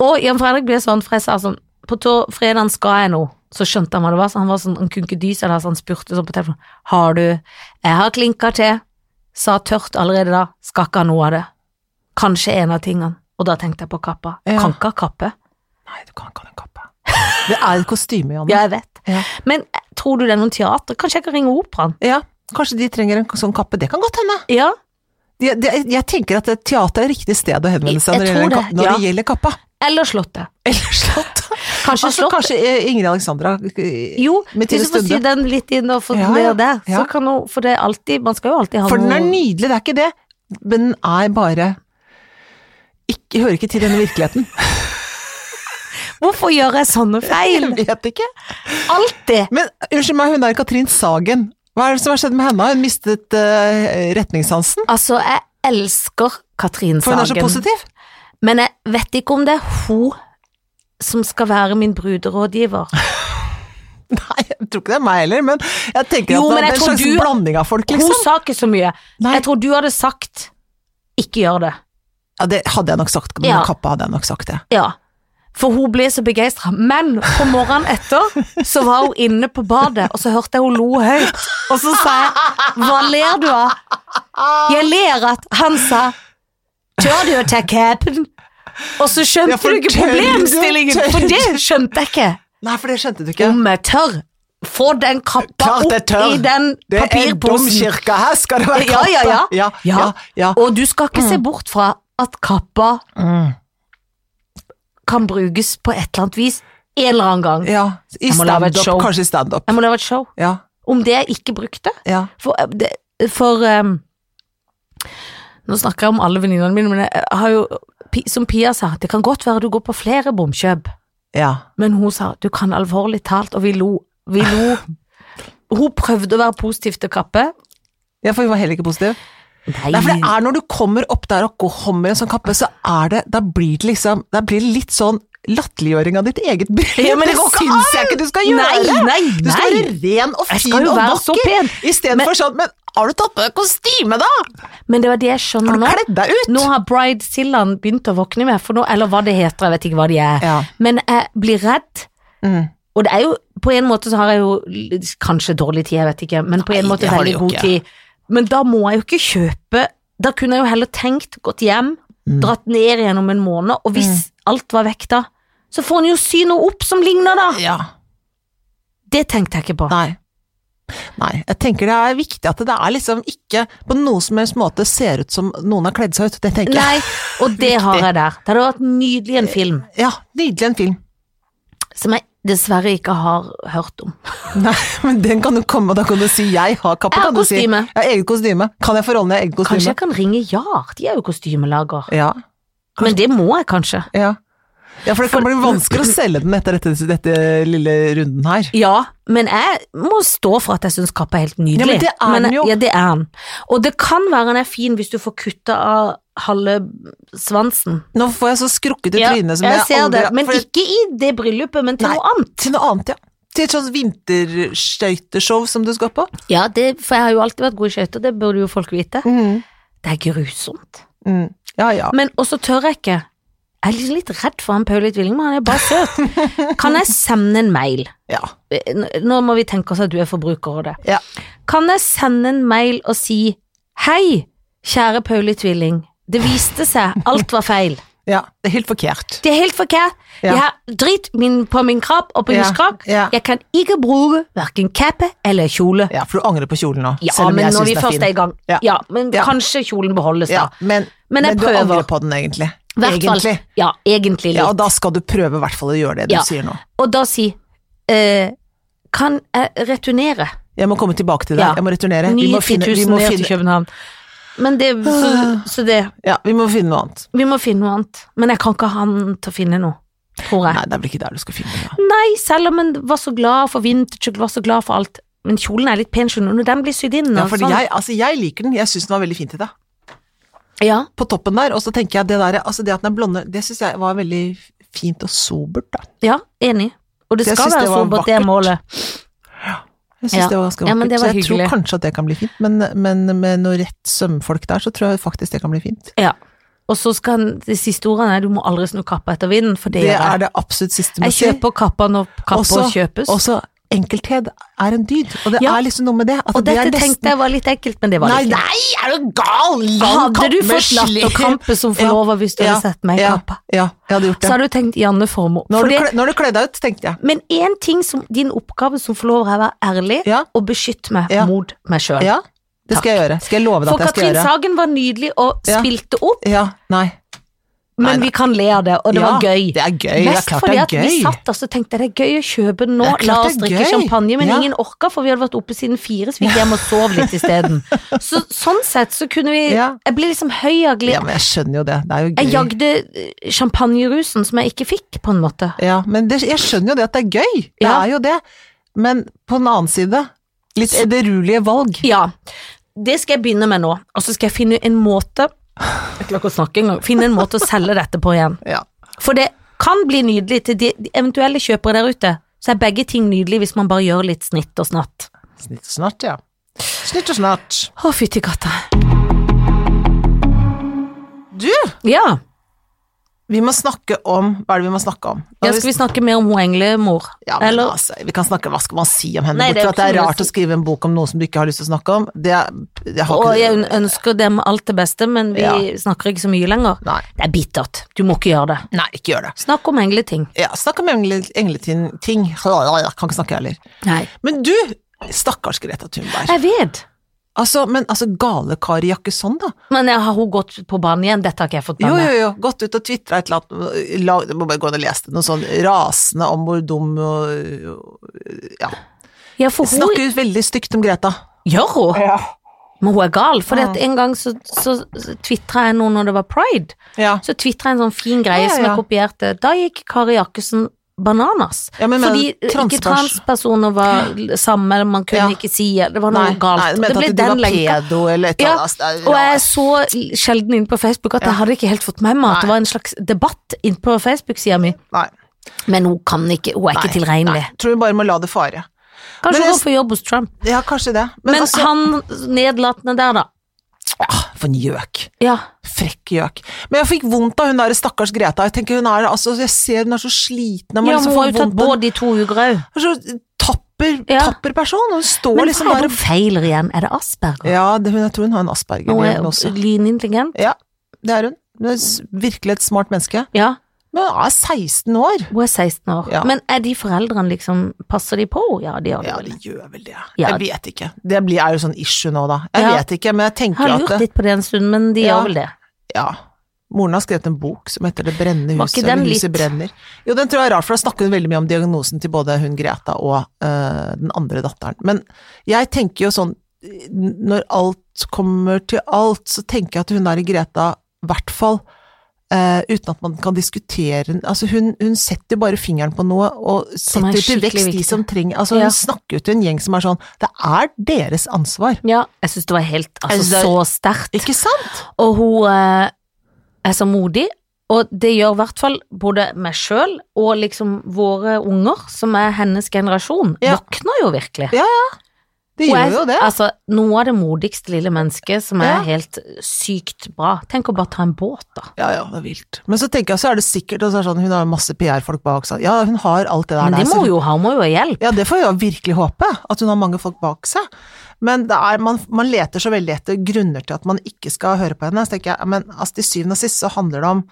S1: Og Jan Fredrik ble sånn, for jeg sa sånn På tor- fredagen skal jeg nå. Så skjønte han hva det var, så han var sånn Han kunne ikke dy seg da, så han spurte sånn på telefonen Har du Jeg har klinka til. Sa tørt allerede da. Skal ikke ha noe av det. Kanskje en av tingene. Og da tenkte jeg på kappa.
S2: Ja.
S1: Kan ikke ha kappe.
S2: Nei, du kan ikke ha den kappa. Det er et kostyme, Janne.
S1: Ja, jeg vet.
S2: Ja.
S1: Men eh, tror du det er noen teater? Kanskje jeg kan ringe operaen?
S2: Ja, kanskje de trenger en sånn kappe. Det kan godt hende.
S1: Ja.
S2: De, de, jeg tenker at et teater er riktig sted å henvende seg når,
S1: Jeg
S2: det gjelder,
S1: tror
S2: en
S1: det,
S2: kapp- når
S1: ja.
S2: det gjelder kappa.
S1: Eller Slottet.
S2: Eller slott.
S1: Kanskje
S2: Altså,
S1: Slottet.
S2: kanskje eh, Ingrid Alexandra eh,
S1: Jo, hvis
S2: med Tine
S1: du får sy
S2: Stunde.
S1: den litt inn og få
S2: Ja,
S1: ned
S2: ja,
S1: der, så
S2: ja.
S1: kan hun For det er alltid Man skal jo alltid ha
S2: For den
S1: noe
S2: er nydelig, det er ikke det. Men den er bare ikke, Hører ikke til denne virkeligheten.
S1: Hvorfor gjør jeg sånne feil?
S2: Jeg vet ikke.
S1: Alltid!
S2: Men unnskyld meg, hun der Katrin Sagen. Hva er det som har skjedd med henne? Hun mistet eh, retningssansen?
S1: Altså, jeg elsker Katrin
S2: For hun er så
S1: Sagen,
S2: positiv.
S1: men jeg vet ikke om det er hun som skal være min bruderådgiver.
S2: Nei, jeg tror ikke det er meg heller, men jeg tenker
S1: Jo,
S2: at
S1: men jeg
S2: det er en
S1: tror
S2: slags
S1: du-
S2: blanding av folk,
S1: Hun
S2: liksom.
S1: sa ikke så mye.
S2: Nei.
S1: Jeg tror du hadde sagt 'ikke gjør det'.
S2: Ja, det hadde jeg nok sagt. Med
S1: Ja.
S2: kappa hadde jeg nok sagt det.
S1: Ja. For hun ble så begeistra. Men på morgenen etter så var hun inne på badet, og så hørte jeg hun lo høyt. Og så sa jeg 'Hva ler du av?' Jeg ler at han sa 'Tør du å ta capen?' Og så skjønte
S2: Ja, for
S1: du ikke
S2: tør du-
S1: problemstillingen,
S2: tør
S1: for
S2: du-
S1: det skjønte jeg ikke.
S2: Nei, for det skjønte du ikke.
S1: Om jeg tør, få den kappa
S2: Klart jeg
S1: opp
S2: tør.
S1: i den
S2: Det er en
S1: papirposen.
S2: domkirke her, skal det være
S1: Ja,
S2: kappa?
S1: ja, ja.
S2: ja, ja, ja.
S1: Og du skal
S2: Mm.
S1: ikke se bort fra at kappa kan brukes på et eller annet vis en eller annen gang.
S2: ja. I
S1: Jeg må lage et
S2: standup,
S1: show.
S2: kanskje i standup.
S1: Jeg må lage et show
S2: Ja,
S1: om det jeg ikke brukte.
S2: ja.
S1: For, eh, det, for ehm, Nå snakker jeg om alle venninnene mine, men jeg har jo Pi- Som Pia sa, det kan godt være du går på flere bomkjøp,
S2: ja.
S1: men hun sa du kan alvorlig talt, og vi lo. Vi lo. Hun prøvde å være positiv til Kappe,
S2: Ja, for hun var heller ikke positiv. Nei, for det er når du kommer opp der og kommer i en sånn kappe, så er det Da blir det liksom Da blir det litt sånn latterliggjøring av ditt eget bryst.
S1: Ja, men det
S2: går ikke
S1: syns
S2: an!
S1: jeg ikke du skal
S2: Nei,
S1: gjøre.
S2: nei, Du skal
S1: nei.
S2: være ren og
S1: Jeg
S2: fin
S1: skal jo
S2: og
S1: være så
S2: vakker.
S1: pen.
S2: Istedenfor sånn Men har du tatt på deg kostyme, da?
S1: Men det var det jeg skjønner
S2: Har du
S1: nå.
S2: kledd deg ut?
S1: Nå har Bridezillaen begynt å våkne med, for nå, eller hva det heter, jeg vet ikke hva de er.
S2: Ja.
S1: Men jeg blir redd,
S2: Mm.
S1: og det er jo På en måte så har jeg jo l- kanskje dårlig tid, jeg vet ikke, men på en
S2: Nei,
S1: måte
S2: det har du
S1: veldig
S2: jo
S1: god
S2: ikke.
S1: tid. Men da må jeg jo ikke kjøpe Da kunne jeg jo heller tenkt, gått hjem,
S2: Mm.
S1: dratt ned igjen om en måned, og hvis alt var vekk da, så får en jo sy noe opp som ligner, da!
S2: Ja.
S1: Det tenkte jeg ikke på.
S2: Nei. Nei. Jeg tenker det er viktig at det er liksom ikke på noen som helst måte ser ut som noen har kledd seg ut. Det tenker jeg.
S1: Nei, og det har jeg der. Det hadde vært nydelig en film
S2: Ja, nydelig en film.
S1: som jeg dessverre ikke har hørt om.
S2: Nei, men den kan du komme, og da kan du si 'jeg har kappe',
S1: Jeg har
S2: kan du si.
S1: kostyme.
S2: Jeg har eget kostyme. Kan jeg få rollen i eget
S1: Kanskje
S2: kostyme?
S1: jeg kan ringe JAR, de er jo kostymelager.
S2: Ja, Kanskje-
S1: Men det må jeg kanskje.
S2: ja. ja, for det kan
S1: For-
S2: bli vanskelig å selge den etter dette, dette lille runden her.
S1: Ja, men jeg må stå for at jeg syns kappa er helt nydelig.
S2: Ja, men det er den jo.
S1: Ja, det er den. Og det kan være den er fin hvis du får kutta av halve svansen.
S2: Nå får jeg så skrukkete
S1: Ja,
S2: tryne som
S1: jeg,
S2: jeg,
S1: ser
S2: aldri
S1: det, men
S2: for
S1: ikke i det bryllupet, men til
S2: Nei.
S1: noe annet.
S2: Til noe annet, ja. Til et sånt vinterskøyteshow som du skal på.
S1: Ja, det, for jeg har jo alltid vært god i skøyter, det burde jo folk vite. Det er grusomt.
S2: Mm. Ja, ja.
S1: Men også tør jeg ikke. Jeg er liksom litt redd for han Paulit Willingman, han er bare søt. Kan jeg sende en mail?
S2: ja.
S1: N- Nå må vi tenke oss at du er forbruker og det.
S2: Ja.
S1: Kan jeg sende en mail og si Hei, kjære Paulit Willing. Det viste seg, alt var feil.
S2: ja. Det er helt forkert.
S1: Det er helt forkert.
S2: Ja.
S1: Jeg har dritt min, på min kropp og på
S2: Ja,
S1: huskropp.
S2: ja.
S1: Jeg kan ikke bruke hverken kappe eller kjole.
S2: Ja, for du angrer på kjolen nå,
S1: Ja,
S2: selv om
S1: men
S2: jeg
S1: når
S2: syns
S1: vi
S2: den er
S1: først
S2: fin.
S1: er i gang.
S2: Ja.
S1: Ja, men
S2: Ja.
S1: kanskje kjolen beholdes
S2: Ja,
S1: da.
S2: men,
S1: Men jeg
S2: du
S1: prøver.
S2: angrer på den egentlig.
S1: Hvert fall-
S2: Egentlig.
S1: Ja, egentlig litt.
S2: Ja, og da skal du prøve i hvert fall å gjøre det du
S1: Ja.
S2: sier nå.
S1: Og da si eh, Kan jeg returnere?
S2: Jeg må komme tilbake til det.
S1: Ja.
S2: Jeg må returnere. Vi
S1: Ny 10
S2: må finne, vi
S1: 000
S2: må
S1: ned til
S2: finne,
S1: København. Men det, så, så det
S2: ja, vi må finne noe annet.
S1: Vi må finne noe annet. Men jeg kan ikke ha han til å finne noe, tror jeg.
S2: Nei, det er vel ikke der du skal finne det.
S1: Nei, selv om han var så glad for vintage, var så glad for alt. Men kjolen er litt pen, skjønner du. Når den blir sydd inn
S2: Ja,
S1: og
S2: fordi
S1: sånn.
S2: jeg, altså, jeg liker den. Jeg syns den var veldig fin til deg.
S1: Ja,
S2: På toppen der, og så tenker jeg det der, altså det at den er blonde, det syns jeg var veldig fint og sobert, da.
S1: ja, enig. Og det
S2: Jeg
S1: skal
S2: synes
S1: være
S2: det var
S1: sobert, det er
S2: vakkert.
S1: målet.
S2: Jeg syns
S1: Ja.
S2: det var ganske
S1: Ja, men
S2: vakkert.
S1: det var
S2: så jeg
S1: hyggelig.
S2: tror kanskje at det kan bli fint, men, men med noe rett sømfolk der, så tror jeg faktisk det kan bli fint.
S1: Ja. Og så skal han, de siste ordene er du må aldri snu kappa etter vinden, for det
S2: Det
S1: gjør jeg.
S2: er det absolutt siste
S1: Jeg
S2: se.
S1: kjøper kappa når kappa
S2: Også-
S1: kjøpes.
S2: Også enkelthet er en dyd, og det
S1: Ja.
S2: er liksom noe med det. at
S1: Og
S2: det er
S1: dette
S2: nesten-
S1: tenkte jeg var litt ekkelt, men det var
S2: Nei,
S1: det ikke.
S2: nei, er du gal? Lang
S1: Hadde
S2: kapp
S1: du
S2: med
S1: fått latterkrampe som
S2: Ja,
S1: forlover hvis du
S2: ja,
S1: hadde sett meg i
S2: ja,
S1: kappa?
S2: Ja, jeg hadde gjort
S1: Så
S2: det.
S1: hadde du tenkt Janne Formoe.
S2: Nå har du,
S1: Fordi-
S2: kle- nå har du kledd deg ut, tenkte jeg.
S1: Men én ting som din oppgave som forlover er å være ærlig
S2: Ja.
S1: og beskytte meg
S2: Ja.
S1: mot meg sjøl.
S2: Ja, det skal jeg gjøre. Skal jeg love deg
S1: For
S2: at jeg skal
S1: Katrin
S2: gjøre.
S1: Sagen var nydelig og
S2: Ja.
S1: spilte opp,
S2: Ja, nei.
S1: men
S2: Nei, nei.
S1: vi kan le av det, og det
S2: ja,
S1: var gøy.
S2: Det er gøy, det er
S1: Mest
S2: klart
S1: fordi
S2: det
S1: at
S2: er
S1: vi
S2: gøy.
S1: satt der så tenkte jeg det er gøy å kjøpe den nå,
S2: Det er klart
S1: la oss
S2: det er
S1: drikke
S2: gøy.
S1: champagne, men
S2: Ja.
S1: ingen orka, for vi hadde vært oppe siden fire, så vi gikk hjem og sov litt isteden. Så, sånn sett så kunne vi
S2: Ja.
S1: Jeg ble liksom høy av
S2: Ja,
S1: glede.
S2: men jeg skjønner jo det. Det er jo gøy.
S1: Jeg jagde eh, champagnerusen som jeg ikke fikk, på en måte.
S2: Ja, men det, jeg skjønner jo det at det er gøy. Det
S1: Ja.
S2: er jo det. Men på den annen side, litt edruelige valg.
S1: Ja, det skal jeg begynne med nå, og så skal jeg finne en måte Jeg klarer ikke å snakke engang. Finne en måte å selge dette på igjen.
S2: Ja.
S1: For det kan bli nydelig til de de eventuelle kjøpere der ute. Så er begge ting nydelig hvis man bare gjør litt snitt og snatt.
S2: Snitt og snart, ja. Snitt og snart.
S1: Å, fytti katta.
S2: Du,
S1: Ja,
S2: vi må snakke om Hva er det vi må snakke om?
S1: ja, skal vi snakke mer om hun englemor?
S2: Ja, men
S1: Eller
S2: altså, vi kan snakke, Hva skal man si om henne?
S1: Nei, det
S2: Bortsett
S1: er
S2: fra at det er
S1: ikke noe å
S2: rart å skrive en bok om noe som du ikke har lyst til å snakke om. Det, er- jeg har
S1: Og
S2: ikke,
S1: jeg ønsker dem alt det beste, men vi
S2: Ja.
S1: snakker ikke så mye lenger.
S2: Nei.
S1: Det er bittert. Du må ikke gjøre det.
S2: nei, ikke gjør det.
S1: Snakk om engleting.
S2: Ja, snakk om engle, engleting. Ting. Jeg kan ikke snakke heller.
S1: Nei.
S2: Men du, stakkars Greta Thunberg.
S1: Jeg vet.
S2: Altså, men altså, gale Kari Jakkesson, da.
S1: Men jeg har hun gått på banen igjen? Dette har ikke jeg fått med
S2: Jo,
S1: meg.
S2: jo, jo. Gått ut og tvitra et eller annet. La, jeg må bare gå ned og lese det. Noe sånn rasende om hvor dum og Ja.
S1: Ja, for hun
S2: Snakker veldig stygt om Greta.
S1: Gjør hun?
S2: Ja.
S1: Men hun er gal. For en gang så, så, så tvitra jeg noe når det var pride.
S2: Ja.
S1: Så tvitra jeg en sånn fin greie
S2: Ja, ja,
S1: som jeg
S2: ja.
S1: kopierte. Da gikk Kari Jakkesen bananas.
S2: Ja, men, men,
S1: Fordi eh, ikke
S2: transpers-
S1: transpersoner var samme, man kunne
S2: Ja.
S1: ikke si Det var noe
S2: Nei,
S1: galt.
S2: nei, du mente
S1: det ble
S2: at du
S1: den
S2: var
S1: lenka.
S2: pedo eller et
S1: Ja,
S2: eller annet. Det er
S1: Og jeg
S2: rart.
S1: så sjelden inn på Facebook at jeg hadde ikke helt fått med meg
S2: Nei.
S1: at det var en slags debatt inn på Facebook-sida mi.
S2: Nei,
S1: Men hun kan ikke, hun er
S2: nei,
S1: ikke tilregnelig.
S2: nei. Tror vi bare må la det fare. Men
S1: Kanskje hun
S2: jeg-
S1: går på jobb hos Trump.
S2: Ja, kanskje det. Men,
S1: Men
S2: altså,
S1: han nedlatende der, da.
S2: ah, for en gjøk.
S1: Ja.
S2: Frekk gjøk. Men jeg fikk vondt av hun der stakkars Greta. Jeg tenker hun er, altså, jeg ser hun er så sliten. og man
S1: ja, men hun
S2: liksom får
S1: har jo tatt
S2: vondt på-
S1: båt i to uker òg.
S2: Hun er så tapper,
S1: Ja.
S2: tapper person. Hun står
S1: Men
S2: liksom
S1: hva er
S2: bare
S1: det hun feiler igjen? Er det Asperger?
S2: Ja, det, hun, jeg tror hun har en asperger
S1: Nå er
S2: hun også.
S1: hun lynintelligent.
S2: Ja, det er hun. Hun er s- virkelig et smart menneske.
S1: Ja,
S2: Men hun er 16 år.
S1: hun er 16 år.
S2: Ja.
S1: Men er de foreldrene liksom Passer de på henne? Ja, de gjør det
S2: Ja,
S1: vel.
S2: de gjør vel det.
S1: Ja.
S2: Jeg vet ikke. Det blir, er jo sånn issue nå, da. Jeg
S1: Ja.
S2: vet ikke, men jeg
S1: Jeg har
S2: tenker
S1: lurt
S2: at det,
S1: litt på det en stund, men de
S2: Ja.
S1: gjør vel det.
S2: Ja. Moren har skrevet en bok som heter Det brennende
S1: Var ikke
S2: huset.
S1: den
S2: eller Huset
S1: litt-
S2: brenner. Jo, den tror jeg er rar, for da snakker hun veldig mye om diagnosen til både hun Greta og eh, den andre datteren. Men jeg tenker jo sånn, n- når alt kommer til alt, så tenker jeg at hun der Greta, i hvert fall eh, uten at man kan diskutere den. altså hun, hun setter bare fingeren på noe og
S1: er
S2: setter til
S1: skikkelig
S2: vekst de
S1: viktig.
S2: som trenger altså
S1: Ja.
S2: Hun snakker jo til en gjeng som er sånn Det er deres ansvar,
S1: Ja, jeg syns det var helt
S2: Jeg
S1: altså,
S2: synes det er-
S1: så sterkt.
S2: ikke sant?
S1: Og hun eh, er så modig, og det gjør i hvert fall både meg sjøl og liksom våre unger, som er hennes generasjon,
S2: Ja.
S1: våkner jo virkelig.
S2: De
S1: Hun er-
S2: gjør jo det.
S1: Altså, noe av det modigste lille mennesket som er
S2: Ja.
S1: helt sykt bra. Tenk å bare ta en båt, da.
S2: Ja, ja, det er vilt. Men så tenker jeg, så er det sikkert, og så er det sånn, hun har jo masse PR-folk bak seg. Ja, hun har alt det der.
S1: Men
S2: der,
S1: det
S2: så-
S1: må jo ha, hun må jo ha hjelp.
S2: Ja, det får jeg virkelig håpe, at hun har mange folk bak seg. Men det er, man, man leter så veldig etter grunner til at man ikke skal høre på henne. Så tenker jeg, ja, men altså, til syvende og sist så handler det om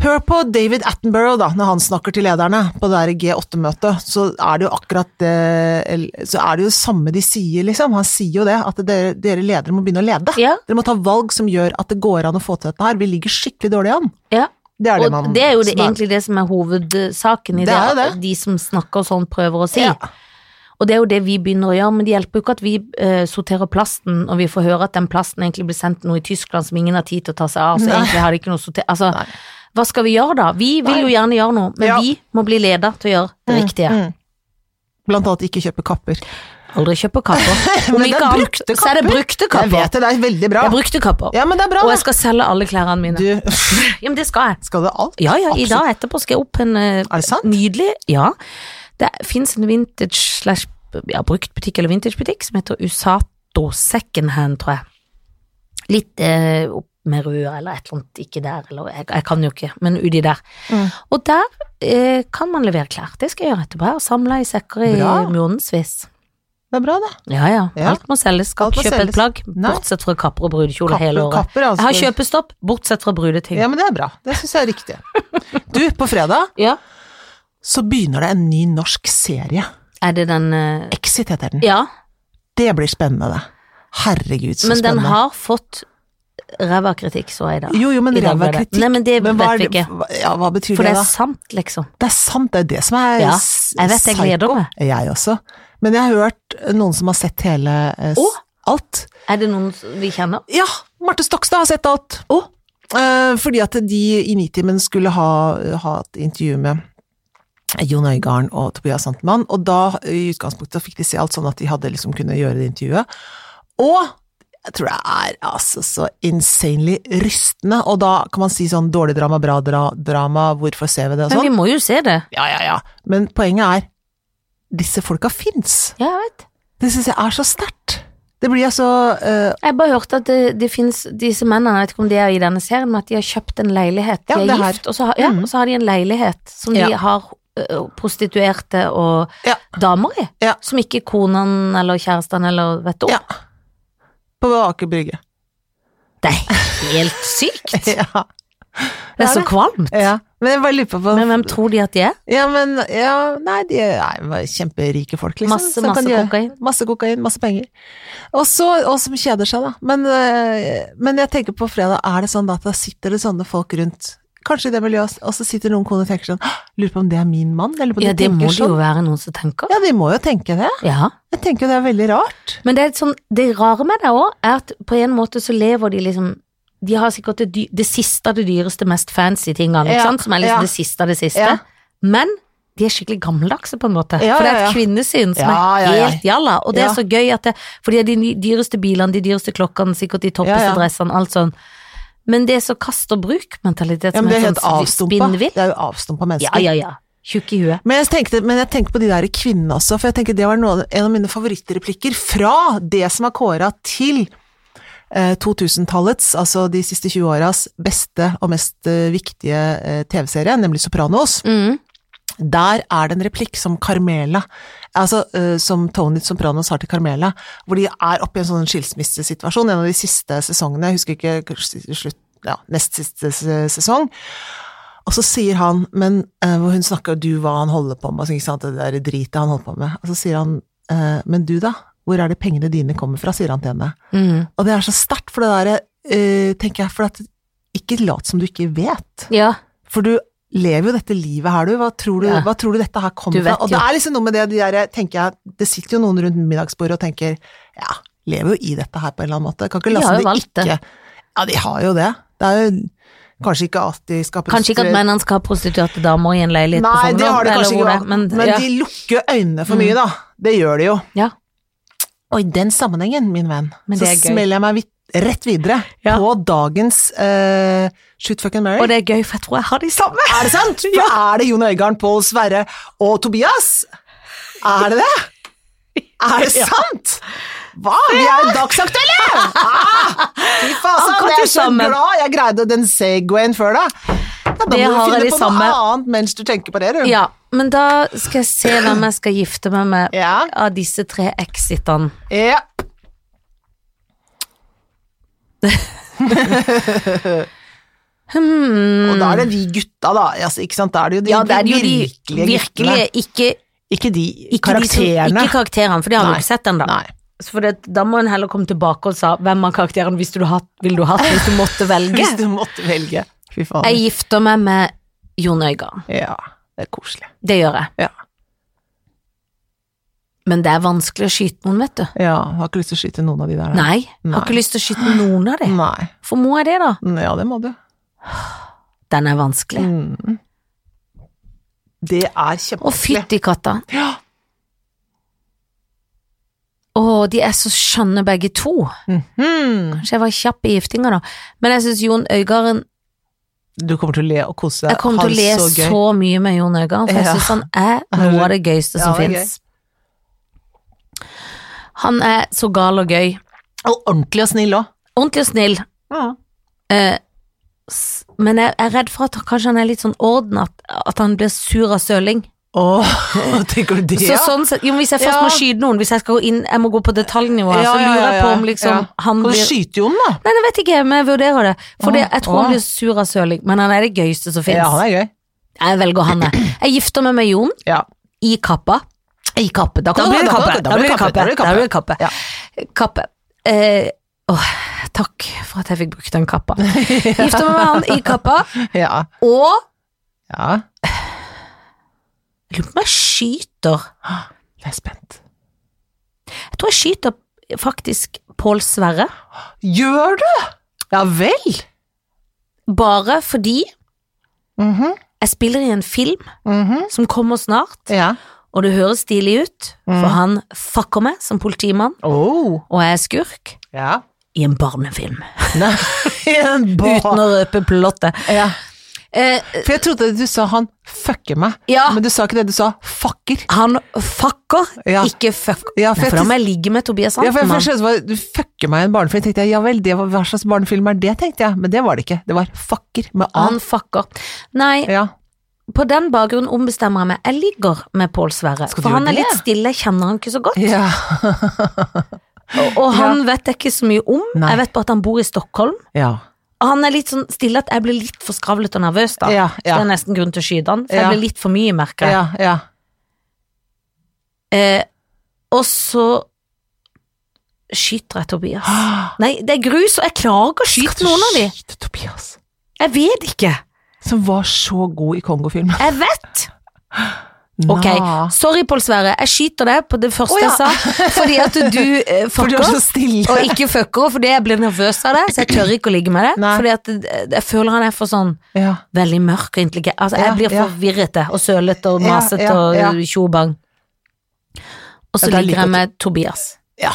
S2: Hør på David Attenborough, da, når han snakker til lederne på det der G8-møtet, så er det jo akkurat det eller, Så er det jo det samme de sier, liksom. Han sier jo det, at dere, dere ledere må begynne å lede.
S1: Ja.
S2: Dere må ta valg som gjør at det går an å få til dette her. Vi ligger skikkelig dårlig an.
S1: Ja.
S2: Det er det
S1: Og
S2: man
S1: det er jo det,
S2: som er-
S1: egentlig det som er hovedsaken i
S2: Det
S1: det,
S2: er jo
S1: at
S2: det.
S1: de som snakker sånn, prøver å si.
S2: Ja.
S1: Og det er jo det vi begynner å gjøre, men det hjelper jo ikke at vi eh, sorterer plasten, og vi får høre at den plasten egentlig blir sendt noe i Tyskland som ingen har tid til å ta seg av, så
S2: Nei.
S1: egentlig har de ikke noe sorter... Altså,
S2: Nei.
S1: hva skal vi gjøre da? Vi vil jo gjerne gjøre noe, men
S2: Ja.
S1: vi må bli leda til å gjøre det riktige.
S2: mm. Blant annet ikke kjøpe kapper.
S1: Aldri kjøpe kapper. Om
S2: Men det er
S1: ikke annet,
S2: brukte
S1: så er det
S2: kapper.
S1: brukte
S2: Jeg
S1: kapper.
S2: vet det, det er veldig bra.
S1: Det er brukte kapper.
S2: Ja, men det er bra.
S1: Og jeg
S2: da.
S1: skal selge alle klærne mine.
S2: Du,
S1: Ja, men det skal jeg.
S2: skal du alt?
S1: Ja, ja, i
S2: Absolutt.
S1: dag etterpå skal jeg opp en eh,
S2: Er det sant?
S1: nydelig Ja. Det fins en vintage slash ja, bruktbutikk eller vintagebutikk som heter Usato Secondhand, tror jeg. Litt eh, opp med røda eller et eller annet, ikke der, eller jeg, jeg kan jo ikke, men uti der.
S2: Mm.
S1: Og der eh, kan man levere klær. Det skal jeg gjøre etterpå. Jeg har samla i sekker i
S2: Bra.
S1: månedsvis.
S2: Det er bra, det.
S1: Ja, ja.
S2: Ja.
S1: Alt må selges. Skal
S2: Alt må
S1: ikke kjøpe
S2: selges.
S1: et plagg,
S2: Nei.
S1: bortsett fra kapper og brudekjole hele
S2: Kapper,
S1: året.
S2: kapper er
S1: Jeg har
S2: altså.
S1: kjøpestopp, bortsett fra brudeting.
S2: Ja, men det er bra. Det syns jeg er riktig. Du, på fredag
S1: Ja.
S2: så begynner det en ny norsk serie.
S1: Er det den eh,
S2: Exit heter den.
S1: Ja.
S2: Det blir spennende, det. Herregud, så
S1: Men den
S2: spennende.
S1: har fått ræva kritikk, så jeg i dag.
S2: Jo, jo, men
S1: I dag
S2: ræva
S1: ble det.
S2: kritikk.
S1: Nei, men det
S2: hva
S1: vet
S2: er
S1: vi
S2: det-
S1: ikke.
S2: hva- Ja, hva betyr
S1: For
S2: det,
S1: det
S2: da?
S1: er sant, liksom.
S2: Det er sant, det er det som er
S1: Ja,
S2: s-
S1: jeg vet, jeg gleder
S2: psycho.
S1: meg.
S2: Jeg også. Men jeg har hørt noen som har sett hele eh, s-
S1: Å?
S2: alt.
S1: Er det noen som vi kjenner?
S2: Ja, Marte Stokstad har sett alt. Eh, fordi at de i Nitimen skulle ha, ha et intervju med Jon Øigarden og Tobias Santelmann, og da i utgangspunktet fikk de se alt sånn at de hadde liksom kunnet gjøre det intervjuet. Og jeg tror det er altså så insanely rystende, og da kan man si sånn dårlig drama, bra dra drama, hvorfor ser vi det og
S1: Men
S2: sånn?
S1: vi må jo se det.
S2: Ja, ja, ja. Men poenget er, disse folka fins.
S1: Ja, jeg vet.
S2: Det syns jeg er så sterkt. Det blir altså eh,
S1: Jeg bare hørte at det, det finnes disse mennene, jeg vet ikke om det er i denne serien, men at de har kjøpt en leilighet. De
S2: Ja, det
S1: er
S2: her.
S1: gift, og så, har, ja,
S2: Mhm.
S1: og så har de en leilighet som
S2: Ja.
S1: de har ø, prostituerte og
S2: Ja.
S1: damer i.
S2: Ja.
S1: Som ikke konen eller kjæresten eller vet du om.
S2: Ja. På Aker Brygge.
S1: Det er helt sykt! Det
S2: ja.
S1: er så
S2: det.
S1: kvalmt.
S2: Ja, men jeg bare lurer på
S1: Men hvem tror de at de er?
S2: Ja, men ja, Nei, de er nei, kjemperike folk, liksom.
S1: Masse,
S2: som kan
S1: masse
S2: gjøre-
S1: kokain.
S2: Masse kokain, masse penger. Og så, og som kjeder seg, da. Men, øh, men jeg tenker på fredag, er det sånn da at da sitter det sånne folk rundt? Kanskje i det miljøet, og så sitter noen koner og tenker sånn «Hå, Lurer på om det er min mann? Eller på om
S1: Ja,
S2: de
S1: det
S2: tenker
S1: må det
S2: sånn.
S1: jo være noen som tenker.
S2: Ja, de må jo tenke det.
S1: Ja.
S2: Jeg tenker jo det er veldig rart.
S1: Men det, er et sånn, det rare med det òg, er at på en måte så lever de liksom De har sikkert det, dy det siste av det dyreste, mest fancy tingene, ikke
S2: Ja,
S1: sant? som er liksom
S2: ja.
S1: det siste av det siste.
S2: Ja.
S1: Men de er skikkelig gammeldagse, på en måte.
S2: Ja,
S1: for det er
S2: ja, ja.
S1: et kvinnesyn som
S2: Ja,
S1: er
S2: ja, ja.
S1: helt jalla. Og det
S2: Ja.
S1: er så gøy at det For de er de ny- dyreste bilene, de dyreste klokkene, sikkert de toppeste
S2: Ja, ja.
S1: dressene, alt sånn. Men det er så kast og bruk-mentalitet
S2: Ja,
S1: som
S2: men det er
S1: er
S2: helt
S1: sånn
S2: avstumpa.
S1: spinnvill.
S2: Det er jo avstumpa mennesker.
S1: Ja, ja, ja. Tjukk i huet.
S2: Men jeg, tenkte, men jeg tenker på de der kvinnene også, for jeg tenker det var noe, en av mine favorittreplikker fra det som er kåra til eh, 2000-tallets, altså de siste 20 åras beste og mest eh, viktige eh, TV-serie, nemlig Sopranos.
S1: Mm.
S2: Der er det en replikk som Carmela, altså eh, som Tony Sopranos har til Carmela, hvor de er oppe i en sånn skilsmissesituasjon, en av de siste sesongene, jeg husker ikke, kanskje slutt, ja, nest siste se- sesong. Og så sier han, men eh, hvor hun snakker jo du hva han holder på med, altså, ikke sant, det der dritet han holder på med, og så sier han, eh, men du da, hvor er det pengene dine kommer fra, sier han til henne.
S1: Mm.
S2: Og det er så sterkt, for det der, eh, tenker jeg, for at ikke lat som du ikke vet.
S1: Ja.
S2: For du lever jo dette livet her, du. Hva tror du,
S1: Ja.
S2: hva tror du dette her
S1: Du
S2: kommer
S1: vet
S2: fra? Og
S1: jo.
S2: det er liksom noe med det de der, tenker jeg, det sitter jo noen rundt middagsbordet og tenker ja, lever jo i dette her på en eller annen måte. Kan ikke
S1: De
S2: la
S1: har
S2: som
S1: jo
S2: de
S1: valgt
S2: ikke
S1: det.
S2: Ja, de har jo det. Det er jo kanskje ikke at de skal
S1: Kanskje ikke at mennene skal ha prostituerte damer i en leilighet på
S2: Nei,
S1: Frogner.
S2: det har de
S1: eller
S2: kanskje
S1: hvor
S2: ikke.
S1: det er,
S2: Men,
S1: Men, ja. Mm.
S2: de lukker øynene for mye, da. Det gjør de jo.
S1: Ja.
S2: Og i den sammenhengen, min venn,
S1: Men
S2: så
S1: det er gøy.
S2: smeller jeg meg vidt, rett videre
S1: Ja.
S2: på dagens eh, Shoot Fucking Mary.
S1: Og det er gøy, for jeg tror jeg har de samme.
S2: Er det sant? For er det Jon Øigarden, Pål Sverre og Tobias? Er det det? Er det sant? Hva? Vi er jo dagsaktuelle! Ah, Fy faen,
S1: Akkurat
S2: jeg er
S1: det
S2: så
S1: samme.
S2: glad jeg greide den segwayen før da. Ja, da må
S1: Det
S2: du
S1: har
S2: finne
S1: jeg de
S2: på
S1: samme.
S2: noe annet mens du tenker på det, du.
S1: Ja, men da skal jeg se hvem jeg skal gifte meg med
S2: Ja.
S1: av disse tre exitene.
S2: Ja.
S1: Hmm.
S2: Og da er det vi gutta, da. Altså, ikke sant? Da er det jo de,
S1: Ja, det er jo de
S2: virkelige,
S1: virkelige,
S2: guttene.
S1: ikke,
S2: Ikke de
S1: ikke de som,
S2: karakterene.
S1: ikke karakterene, for de har
S2: Nei.
S1: vi ikke sett ennå.
S2: Nei.
S1: For det, da må en heller komme tilbake og sa hvem av karakterene hvis du hatt, ville du hatt hvis du måtte velge.
S2: Hvis du måtte velge. Fy faen.
S1: Jeg gifter meg med Jon Øigarden.
S2: Ja, det er koselig.
S1: Det gjør jeg.
S2: Ja.
S1: Men det er vanskelig å skyte noen, vet du.
S2: Ja, jeg har ikke lyst til å skyte noen av de der.
S1: Nei, jeg
S2: Nei.
S1: har ikke lyst til å skyte noen av dem.
S2: Nei.
S1: For må jeg det, da?
S2: Ja, det må du.
S1: Den er vanskelig.
S2: Mm. Det er
S1: Å,
S2: kjempevanskelig.
S1: fytti katta.
S2: Ja.
S1: Å, de er så skjønne begge to.
S2: Mhm.
S1: Kanskje jeg var kjapp i giftinga, da. Men jeg syns Jon Øigarden
S2: Du kommer til å le og kose deg.
S1: Jeg kommer til å le så,
S2: gøy.
S1: mye med Jon Øigarden, for jeg
S2: Ja.
S1: syns han er noe av det gøyeste
S2: Ja,
S1: som
S2: det er
S1: finnes fins. Han er så gal og gøy.
S2: Og ordentlig og snill òg.
S1: Ordentlig og snill, Eh, s- men jeg er redd for at han- kanskje han er litt sånn orden, at, at han blir sur av søling.
S2: Åh, tenker du det,
S1: Så
S2: ja?
S1: sånn sett, jo, men Hvis jeg først
S2: Ja.
S1: må skyte noen, hvis jeg skal gå inn, jeg må gå på detaljnivå, her,
S2: Ja,
S1: så
S2: ja,
S1: lurer jeg
S2: ja,
S1: på
S2: ja.
S1: om liksom
S2: Ja.
S1: han
S2: Kan du
S1: blir
S2: skyte Jon, da?
S1: Nei, det vet jeg ikke, men jeg vurderer det. For det, jeg tror
S2: Åh.
S1: han blir sur av søling, men han er det gøyeste som fins.
S2: Ja, han er gøy.
S1: jeg velger han, jeg. Jeg gifter meg med Jon,
S2: Ja.
S1: i kappa. I kappe. Da,
S2: Da blir det kappe,
S1: Da blir det kappe. Da blir det kappe.
S2: Ja.
S1: Kappe. Eh, åh, takk for at jeg fikk brukt den kappa. Gifter meg med han i kappa,
S2: Ja.
S1: og
S2: ja.
S1: jeg lurer på om jeg skyter
S2: Jeg er spent.
S1: Jeg tror jeg skyter faktisk Pål Sverre,
S2: Gjør du? Ja vel?
S1: bare fordi
S2: Mhm,
S1: jeg spiller i en film
S2: mhm.
S1: som kommer snart,
S2: Ja.
S1: og det høres stilig ut, for
S2: Mm.
S1: han fucker meg som politimann,
S2: Oh.
S1: og jeg er skurk
S2: Ja.
S1: i en barnefilm.
S2: Nei, en
S1: Uten
S2: barn.
S1: å røpe plottet.
S2: Ja.
S1: Eh,
S2: For jeg trodde du sa han fucker meg,
S1: ja.
S2: men du sa ikke det, du sa fucker.
S1: Han fucker,
S2: Ja.
S1: ikke fucker.
S2: Ja, for
S1: Nei,
S2: jeg,
S1: for da
S2: tis-
S1: må jeg ligge med Tobias
S2: ja, for jeg
S1: Antelmann.
S2: først skjønte hva- du fucker meg i en barnefilm, tenkte jeg ja vel, det var, hva slags barnefilm er det, tenkte jeg, men det var det ikke, det var fucker med A.
S1: han fucker. Nei,
S2: Ja.
S1: på den bakgrunn ombestemmer jeg meg. Jeg ligger med Pål Sverre,
S2: Skal du
S1: for han
S2: gjøre
S1: er
S2: det?
S1: litt stille, jeg kjenner han ikke så godt.
S2: ja.
S1: Og, og han vet jeg ikke så mye om.
S2: Nei.
S1: Jeg vet bare at han bor i Stockholm.
S2: Ja.
S1: Og han er litt sånn stille at jeg blir litt for skravlet og nervøs da.
S2: Ja,
S1: Det
S2: ja,
S1: er nesten grunn til å skyte han, for
S2: Ja.
S1: jeg blir litt for mye, merker jeg.
S2: ja, ja.
S1: Eh, og så skyter jeg Tobias.
S2: Ah,
S1: Nei, det er grus, og jeg klarer ikke å
S2: skal du
S1: skyte noen av de.
S2: skyte Tobias,
S1: Jeg vet ikke.
S2: som var så god i Kongofilm.
S1: Jeg vet! Ok,
S2: Nå.
S1: sorry Pål Sverre, jeg skyter deg på det første
S2: Å, ja.
S1: jeg sa, fordi at du eh,
S2: For du er
S1: fucker.
S2: så stille.
S1: Og ikke fucker, fordi jeg blir nervøs av det, så jeg tør ikke å ligge med det.
S2: Nei.
S1: Fordi at eh, jeg føler han er for sånn
S2: Ja.
S1: veldig mørk og intelligent. Altså, jeg
S2: Ja,
S1: blir
S2: ja.
S1: forvirrete og sølete og
S2: Ja,
S1: masete
S2: ja, ja.
S1: og tjobang. Og så
S2: Ja, da liker
S1: ligger jeg
S2: jeg
S1: med Tobias.
S2: ja.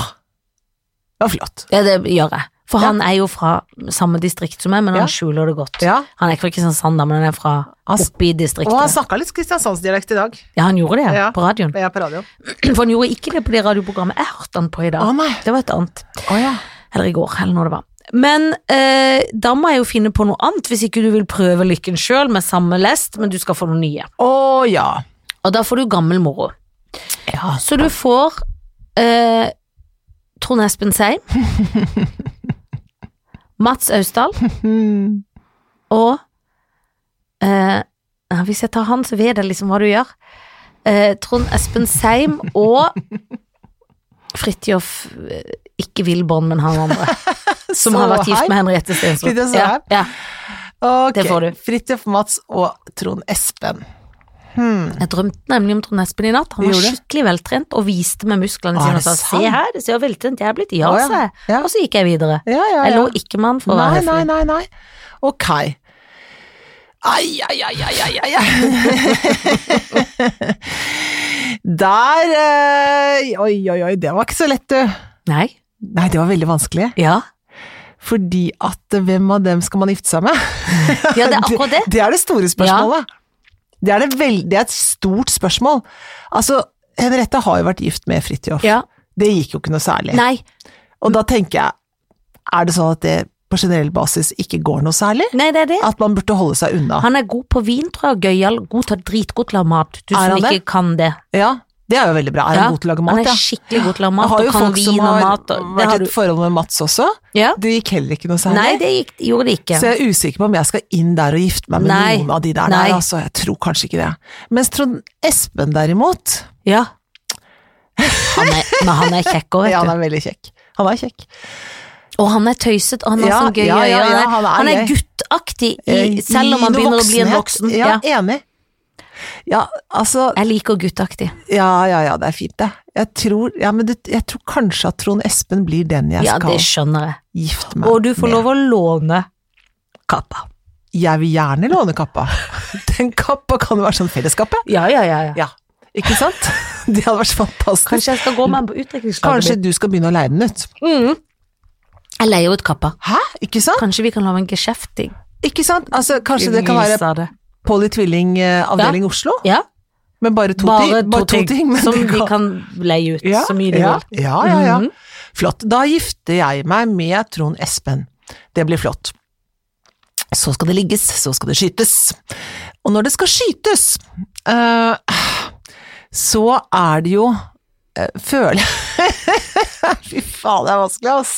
S2: Det var flott.
S1: Ja, det gjør jeg. For
S2: Ja.
S1: han er jo fra samme distrikt som meg, men
S2: Ja.
S1: han skjuler det godt.
S2: Ja.
S1: Han er ikke fra Kristiansand, da, men han er fra
S2: Han s-
S1: oppe i
S2: Og han
S1: distriktet.
S2: snakka litt kristiansandsdialekt i dag.
S1: Ja, han gjorde det, ja,
S2: Ja.
S1: på radioen.
S2: Jeg er på radio.
S1: For han gjorde ikke det på det radioprogrammet jeg hørte han på i
S2: Å
S1: dag.
S2: nei.
S1: Det var et annet.
S2: Å ja.
S1: Eller i går, eller når det var. Men eh, da må jeg jo finne på noe annet, hvis ikke du vil prøve lykken sjøl med samme lest, men du skal få noe nye.
S2: Å ja.
S1: Og da får du gammel moro.
S2: Ja.
S1: Så du får eh, Trond Espen Seim, Mats Austdal
S2: Hmm.
S1: og eh, ja, Hvis jeg tar han, så vet jeg liksom hva du gjør. Eh, Trond Espen Seim og Fridtjof eh, Ikke Wilborn, men han andre. Som
S2: Så
S1: har vært gift
S2: hei.
S1: med Henriette Stensvold.
S2: Fridtjof
S1: Ja,
S2: Seim.
S1: ja.
S2: Ok.
S1: Det får du.
S2: Fridtjof Mats og Trond Espen. Hmm.
S1: Jeg drømte nemlig om Trond Espen i natt. Han var
S2: Gjorde du?
S1: skikkelig veltrent og viste meg musklene
S2: Å, er
S1: sine og
S2: det
S1: sa
S2: sant?
S1: se her, det ser veltrent jeg er blitt. Ja,
S2: Å, ja.
S1: sa jeg.
S2: Ja.
S1: Og så gikk jeg videre.
S2: Ja, ja, ja.
S1: Jeg lå ikke med han for å være
S2: Nei,
S1: høflig.
S2: nei, nei, nei. Ok. Ai, ai, ai, ai, ai, ai, ai. Der eh, Oi, oi, oi, det var ikke så lett, du.
S1: Nei.
S2: Nei, det var veldig vanskelig.
S1: Ja.
S2: Fordi at eh, hvem av dem skal man gifte seg med?
S1: ja, det er akkurat det.
S2: Det er det store spørsmålet. Det, er det, veld- det er et stort spørsmål. Altså, Henriette har jo vært gift med Fridtjof.
S1: Ja.
S2: Det gikk jo ikke noe særlig.
S1: Nei.
S2: Og da tenker jeg, er det sånn at det på generell basis ikke går noe særlig?
S1: nei, det er det.
S2: At man burde holde seg unna?
S1: Han er god på vin, tror jeg, og gøyal. God til å dritgod til å lage mat. Du
S2: Er
S1: som
S2: han
S1: ikke
S2: det?
S1: kan det.
S2: Ja, det er jo veldig bra. Er
S1: Ja,
S2: han god til å lage
S1: Han
S2: mat?
S1: er
S2: Ja.
S1: skikkelig god til å lage
S2: Jeg
S1: mat,
S2: har
S1: og
S2: jo
S1: kan
S2: folk som
S1: vin og
S2: har
S1: mat. Og, det
S2: vært
S1: har
S2: i
S1: du.
S2: et forhold med Mats også.
S1: Ja.
S2: Det gikk heller ikke noe særlig.
S1: Nei, det gikk, gjorde det ikke.
S2: Så jeg er usikker på om jeg skal inn der og gifte meg med
S1: Nei.
S2: noen av de der.
S1: Nei.
S2: der altså, jeg tror kanskje ikke det. Mens Trond Espen derimot,
S1: Ja. Han er, men han er kjekk òg,
S2: ja, han
S1: vet du.
S2: er veldig kjekk. Han er kjekk.
S1: Og han er tøysete, og han er
S2: Ja,
S1: sånn gøy.
S2: ja, ja, ja,
S1: han,
S2: han
S1: er,
S2: er
S1: han er
S2: gøy.
S1: guttaktig,
S2: Eh,
S1: i, selv om han
S2: i noe
S1: begynner å bli en
S2: voksenhet.
S1: voksen.
S2: Ja,
S1: Ja.
S2: enig. Ja, altså
S1: Jeg liker guttaktig.
S2: Ja, ja, ja, det er fint, det. Jeg tror, ja, men det, jeg tror kanskje at Trond Espen blir den jeg
S1: Ja,
S2: skal
S1: det skjønner jeg.
S2: gifte meg
S1: Og du får lov å låne kappa.
S2: Jeg vil gjerne låne kappa. Den kappa kan jo være sånn felleskappe.
S1: Ja, ja, ja. ja.
S2: Ja, ikke sant? Det hadde vært fantastisk.
S1: Kanskje
S2: Kanskje,
S1: jeg skal gå med den på utdrikningslaget.
S2: du skal begynne å leie den ut.
S1: Mm. Jeg leier ut kappa.
S2: Hæ? Ikke sant?
S1: Kanskje vi kan lage en geskjefting?
S2: Ikke sant? Altså, kanskje det kan være Polly Tvilling eh, avdeling Oslo,
S1: Ja,
S2: med bare to
S1: bare
S2: ting.
S1: to, ting,
S2: men
S1: som
S2: det
S1: vi kan leie ut
S2: Ja,
S1: så mye de
S2: ja,
S1: vil.
S2: ja, ja, ja.
S1: Mhm.
S2: Flott. Da gifter jeg meg med Trond Espen. Det blir flott. Så skal det ligges, så skal det skytes. Og når det skal skytes, eh, så er det jo uh, Føler Fy faen, det er vanskelig, ass.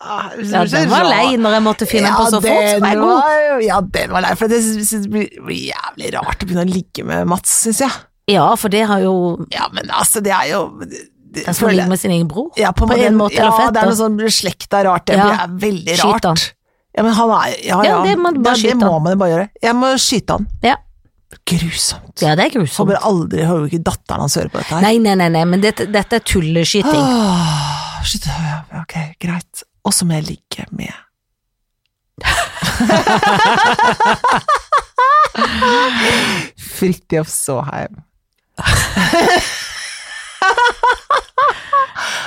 S2: Ah, det
S1: Ja,
S2: blir så
S1: den var
S2: rar-
S1: lei når jeg måtte finne den på så fort,
S2: den
S1: som er god.
S2: var- Ja, den var lei, for det synes jeg blir blir jævlig rart å begynne å ligge med Mats, syns jeg.
S1: Ja, for det har jo
S2: Ja, men altså, det er jo det-
S1: Den som
S2: føler-
S1: ligger med sin egen bror.
S2: ja, på,
S1: På en måte,
S2: ja,
S1: eller fett,
S2: det er
S1: da.
S2: noe sånn slekt er rart, det
S1: Ja.
S2: blir- er veldig
S1: Skyt
S2: rart.
S1: han.
S2: Ja, men han er, ja, ja.
S1: Ja, det må du bare
S2: det
S1: skyte
S2: må
S1: han.
S2: man jo bare gjøre. Jeg må skyte han.
S1: Ja.
S2: Grusomt.
S1: Ja, det er
S2: Han
S1: grusomt.
S2: bør aldri, hører jo ikke datteren hans høre på dette her.
S1: Nei, nei, nei, nei men dette, dette er tulleskyting.
S2: Åh, Ah, shit, ja, ok, greit. Og så må jeg ligge med. Fridtjof Såheim.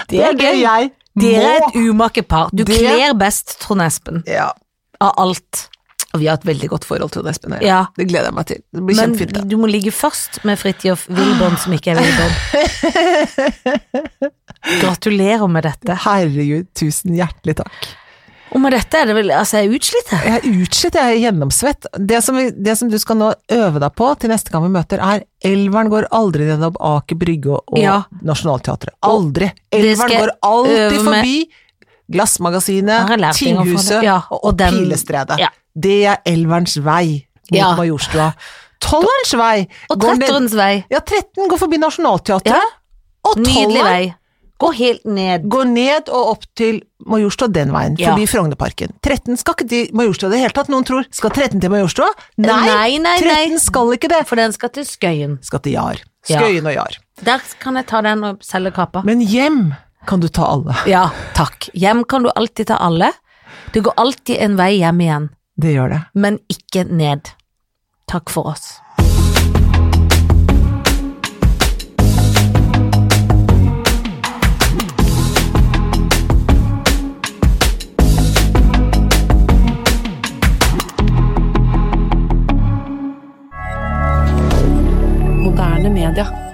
S1: Det er gøy.
S2: jeg
S1: Dere er et umake par. Du
S2: Det-
S1: kler best Trond Espen
S2: Ja.
S1: av alt.
S2: Og vi har et veldig godt forhold til Espen og jeg.
S1: Ja.
S2: Det gleder jeg meg til. Det blir
S1: Men
S2: kjempefint. det.
S1: du må ligge først med Fridtjof Wilborn, som ikke er Wilborn. Gratulerer med dette.
S2: Herregud, tusen hjertelig takk.
S1: Og med dette er det vel Altså, jeg er utslitt her.
S2: Jeg er utslitt, jeg er gjennomsvett. Det som, vi, det som du skal nå øve deg på til neste gang vi møter, er Elveren går aldri gjennom Aker Brygge og
S1: Ja.
S2: Nationaltheatret. Aldri!
S1: Det skal
S2: Elveren
S1: jeg
S2: går alltid
S1: øve meg-
S2: forbi Glassmagasinet,
S1: Her har jeg lært ting om
S2: Tinghuset
S1: det. Ja,
S2: og,
S1: og den-
S2: Pilestredet.
S1: Ja.
S2: Det er Elverens vei mot
S1: Ja.
S2: Majorstua. Tollerens vei!
S1: Og
S2: går ned-
S1: tretterens vei.
S2: Ja, 13 går forbi Nationaltheatret.
S1: Ja.
S2: Og
S1: Nydelig
S2: tolveren
S1: vei. Gå helt ned.
S2: Går ned og opp til Majorstua den veien,
S1: Ja.
S2: forbi Frognerparken. 13 skal ikke til Majorstua i det hele tatt, noen tror. Skal 13 til Majorstua? Nei,
S1: Nei, nei, nei.
S2: 13 skal ikke det.
S1: For den skal til Skøyen.
S2: Skal til Jar.
S1: Ja.
S2: Skøyen og Jar.
S1: Der kan jeg ta den og selge kappa.
S2: Men hjem kan du ta alle.
S1: Ja, takk. Hjem kan du alltid ta alle. Det går alltid en vei hjem igjen,
S2: Det gjør det.
S1: men ikke ned. Takk for oss.
S3: Moderne media.